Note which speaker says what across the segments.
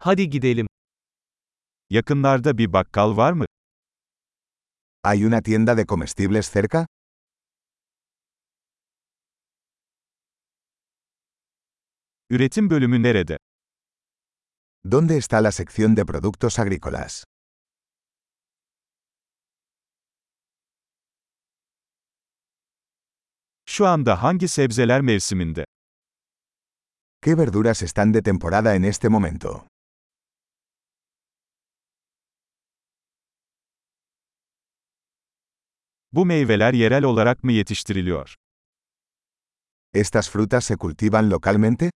Speaker 1: Hadi gidelim.
Speaker 2: Yakınlarda bir bakkal var mı?
Speaker 3: ¿Hay una tienda de comestibles cerca?
Speaker 2: Üretim bölümü nerede?
Speaker 3: ¿Dónde está la sección de productos agrícolas?
Speaker 2: Şu anda hangi sebzeler mevsiminde?
Speaker 3: ¿Qué verduras están de temporada en este momento?
Speaker 2: Bu meyveler yerel olarak mı yetiştiriliyor?
Speaker 3: ¿Estas frutas se cultivan localmente?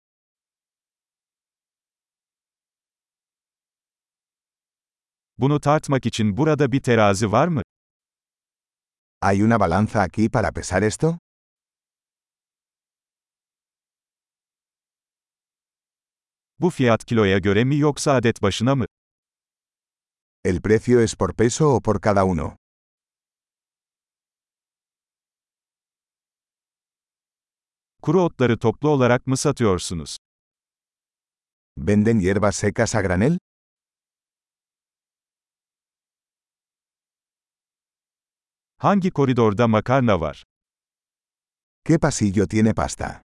Speaker 2: Bunu tartmak için burada bir terazi var mı?
Speaker 3: ¿Hay una balanza aquí para pesar esto?
Speaker 2: Bu fiyat kiloya göre mi yoksa adet başına mı?
Speaker 3: ¿El precio es por peso o por cada uno?
Speaker 2: Kuru otları toplu olarak mı satıyorsunuz?
Speaker 3: ¿Venden hierbas secas a granel?
Speaker 2: Hangi koridorda makarna var?
Speaker 3: ¿Qué pasillo tiene pasta?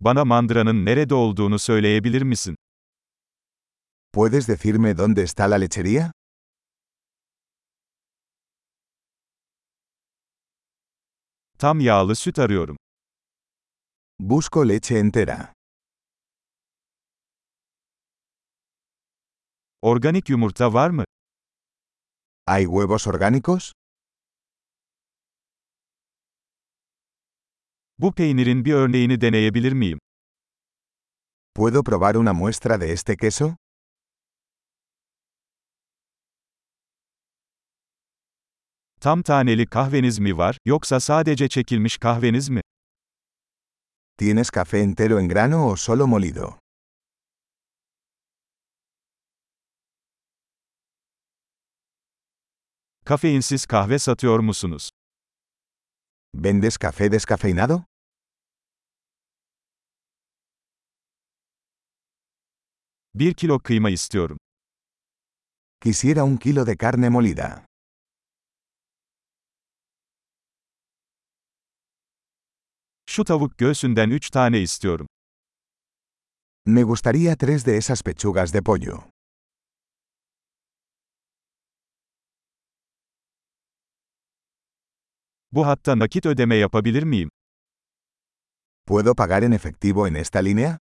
Speaker 2: Bana mandıranın nerede olduğunu söyleyebilir misin?
Speaker 3: ¿Puedes decirme dónde está la lechería?
Speaker 2: Tam yağlı süt arıyorum.
Speaker 3: Busco leche entera.
Speaker 2: Organik yumurta var mı?
Speaker 3: ¿Hay huevos orgánicos?
Speaker 2: Bu peynirin bir örneğini deneyebilir miyim?
Speaker 3: ¿Puedo probar una muestra de este queso?
Speaker 2: Tam taneli kahveniz mi var yoksa sadece çekilmiş kahveniz mi?
Speaker 3: ¿Tienes café entero en grano o solo molido?
Speaker 2: Kafeinsiz kahve satıyor musunuz?
Speaker 3: ¿Vendes café descafeinado?
Speaker 2: Bir kilo kıyma istiyorum.
Speaker 3: Quisiera un kilo de carne molida.
Speaker 2: Şu tavuk göğsünden 3 tane istiyorum.
Speaker 3: Me gustaría tres de esas pechugas de pollo.
Speaker 2: Bu hatta nakit ödeme yapabilir miyim?
Speaker 3: ¿Puedo pagar en efectivo en esta línea?